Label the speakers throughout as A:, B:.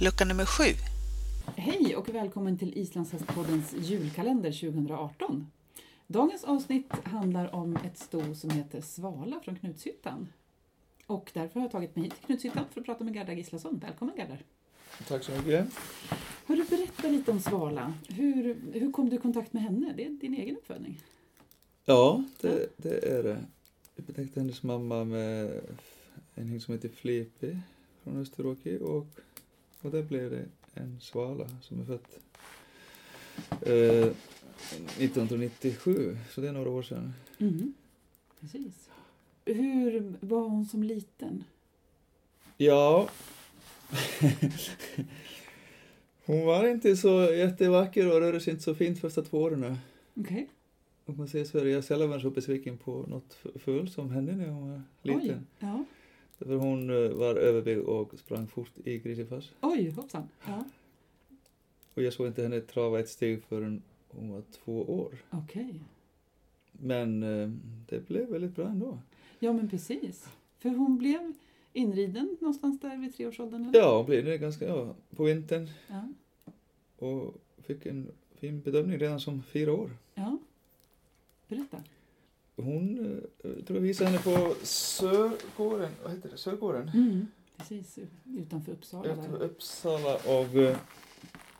A: lucka nummer sju.
B: Hej och välkommen till Islandshästpoddens julkalender 2018. Dagens avsnitt handlar om ett sto som heter Svala från Knutshyttan. Och därför har jag tagit mig hit till Knutshyttan för att prata med Gerda Gislason. Välkommen Gerda!
C: Tack så mycket.
B: Hör du berätta lite om Svala. Hur, hur kom du i kontakt med henne? Det är din egen uppfödning.
C: Ja, det, det är det. Jag upptäckte hennes mamma med en hink som heter Flipi från Österåker och, och där blev det en svala som är född eh, 1997, så det är några år sedan.
B: Mhm. Precis. Hur var hon som liten?
C: Ja. Hon var inte så jättevacker och rörde sig inte så fint första två åren.
B: Okej.
C: Om man säger så är det, jag sällan var så besviken på något ful som hände när hon var liten.
B: Oj. Ja.
C: För hon eh, var överväg och sprang fort i Grisefors.
B: Oj, hoppsan. Ja.
C: Och jag såg inte henne trava ett steg förrän hon var två år.
B: Okej.
C: Men eh, det blev väldigt bra ändå.
B: Ja, men precis. För hon blev inriden någonstans där vid treårsåldern? Eller?
C: Ja, hon blev det ganska, ja, på vintern
B: Ja.
C: och fick en fin bedömning redan som fyra år.
B: ja. Berätta.
C: Hon, eh, jag tror jag visade henne på Sörgården, vad heter det, Sörgården?
B: Mm. Precis, utanför Uppsala.
C: Efter
B: Där.
C: Uppsala och eh,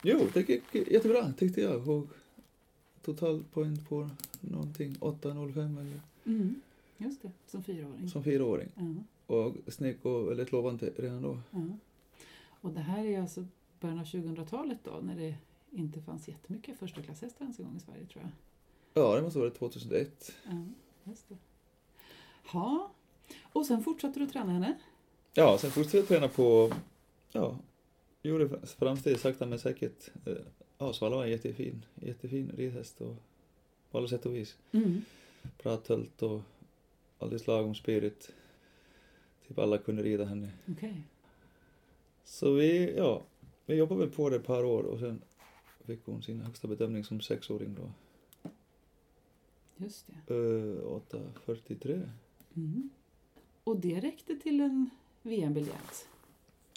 C: jo, det gick jättebra tyckte jag. Och total poäng på någonting, 8,05 eller
B: Mm. Just det, som fyraåring.
C: som fyraåring.
B: Ja,
C: Och snygg och väldigt lovande redan då.
B: ja. Och det här är alltså början av 2000-talet då, när det inte fanns jättemycket förstaklasshästar ens en gång i Sverige tror jag.
C: Ja, det måste ha varit 2001.
B: Ja, just det. Ja. Och sen fortsatte du att träna henne?
C: Ja, sen fortsatte jag träna på, ja, gjorde framsteg sakta men säkert. Eh, Ja, Svala var en jättefin, jättefin ridhäst och på alla sätt och vis.
B: Mm.
C: Bra tölt och alldeles lagom spirit. Typ alla kunde rida henne.
B: Okej.
C: Så vi, ja, vi jobbade väl på det ett par år och sen fick hon sin högsta bedömning som sexåring då.
B: Just det.
C: Eh, 8.43.
B: Mm. Och det räckte till en VM-biljett?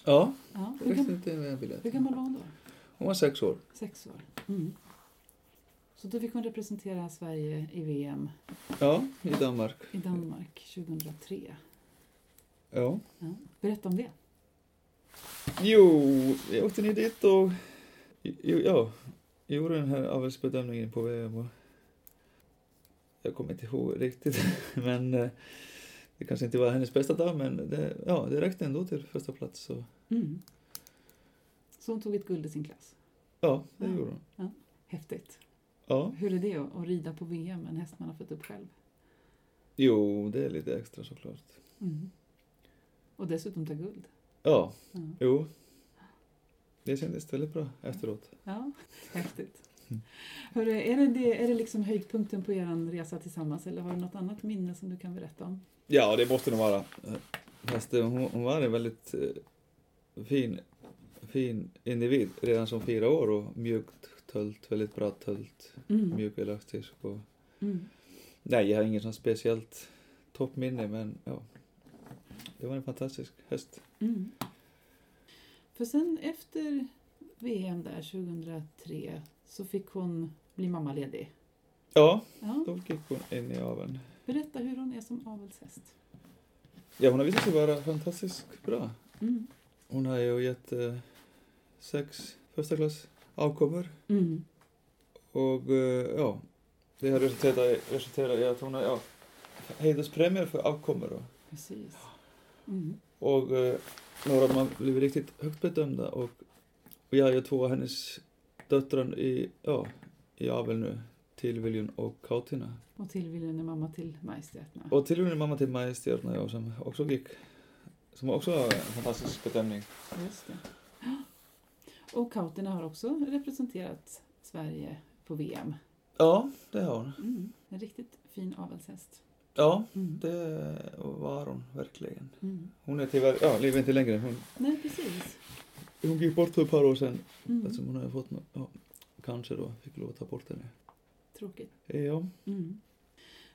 C: Ja,
B: Ja,
C: det
B: hur,
C: räckte
B: gam-
C: inte med en
B: hur
C: biljett.
B: gammal var hon då?
C: Hon var sex år.
B: Sex år. Mm. Så då fick hon representera Sverige i VM
C: Ja, i Danmark.
B: i Danmark 2003.
C: Ja.
B: Ja. Berätta om det.
C: Jo, jag åkte ner dit och jo, ja, jag gjorde den här avelsbedömningen på VM och jag kommer inte ihåg riktigt, men eh, det kanske inte var hennes bästa dag, men det, ja, det räckte ändå till första plats. Så,
B: Mm. Så hon tog ett guld i sin klass.
C: ja, det
B: Ja.
C: gjorde hon.
B: Häftigt.
C: Ja,
B: Hur är det att att rida på VM med en häst man har fött upp själv?
C: jo, det är lite extra såklart.
B: Mm. Och dessutom ta guld.
C: Ja,
B: Ja.
C: jo. Det kändes väldigt bra efteråt.
B: Ja, häftigt. Hörru, är, det det, är det liksom höjdpunkten på er resa tillsammans eller har du något annat minne som du kan berätta om?
C: Ja, det måste nog vara. Hästen, hon, hon var en väldigt eh, fin, fin individ redan som fyra år och mjukt tölt, väldigt bra tölt,
B: Mm.
C: mjuk elastisk och
B: Mm.
C: nej, jag har ingen sån speciellt toppminne men ja. Det var en fantastisk häst.
B: Mm. För sen efter VM där 2003 så fick hon bli mammaledig.
C: Ja,
B: Ja,
C: då gick hon in i aveln.
B: berätta hur hon är som avelshäst.
C: Ja, hon har visat sig vara fantastiskt bra.
B: Mm.
C: Hon har ju gett eh, sex första klass avkommor
B: Mm.
C: och eh, ja, det har resulterat i, resulterat i att hon har ja, hederspremier för avkommor då.
B: Precis. Mm.
C: och eh, några av dem har blivit riktigt högt bedömda och, och jag är ju två av hennes döttrar i, ja, i avel nu, Tillviljon och Kautina.
B: Och Tillviljen är mamma till Majstjärtna.
C: Och Tillviljon är mamma till Majestjärna jag som också gick, som också har en fantastisk bedömning.
B: Just det. Ja. Och Kautina har också representerat Sverige på VM.
C: Ja, det har hon.
B: Mm. En riktigt fin avelshäst.
C: Ja,
B: Mm.
C: det var hon verkligen.
B: Mm.
C: Hon är tyvärr, ja, lever inte längre. Hon,
B: Nej, precis.
C: hon gick bort för ett par år sedan
B: Mm.
C: eftersom hon hade fått nå- ja, cancer då, fick lov att ta bort henne.
B: Tråkigt.
C: Ja,
B: Mm.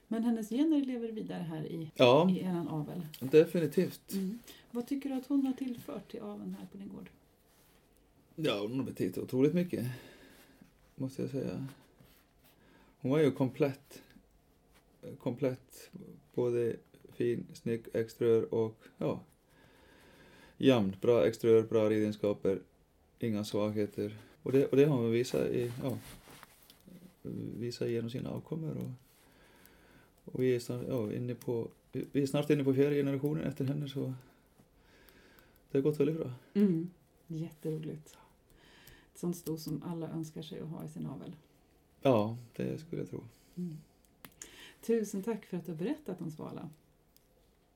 B: Men hennes gener lever vidare här i,
C: ja
B: i eran avel.
C: definitivt.
B: Mm. Vad tycker du att hon har tillfört till aveln här på din gård?
C: Ja, hon har betytt otroligt mycket. Måste jag säga. Hon var ju komplett. Komplett. Både fin, snygg exteriör och ja. Jämnt, bra exteriör, bra ridegenskaper. Inga svagheter. Och det, och det har hon visat i, ja. Visat genom sina avkommor och, och vi är snart, ja, inne på, vi vi är snart inne på fjärde generationen efter henne så det har gått väldigt bra.
B: Mm. Jätteroligt. Ett sånt sto som alla önskar sig att ha i sin avel.
C: Ja, det skulle jag tro.
B: Mm. Tusen tack för att du har berättat om Svala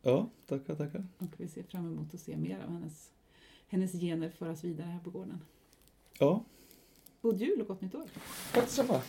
C: Ja, tackar, tackar.
B: och vi ser fram emot att se mer av hennes, hennes gener föras vidare här på gården.
C: Ja,
B: God jul och gott nytt år!
C: tack detsamma.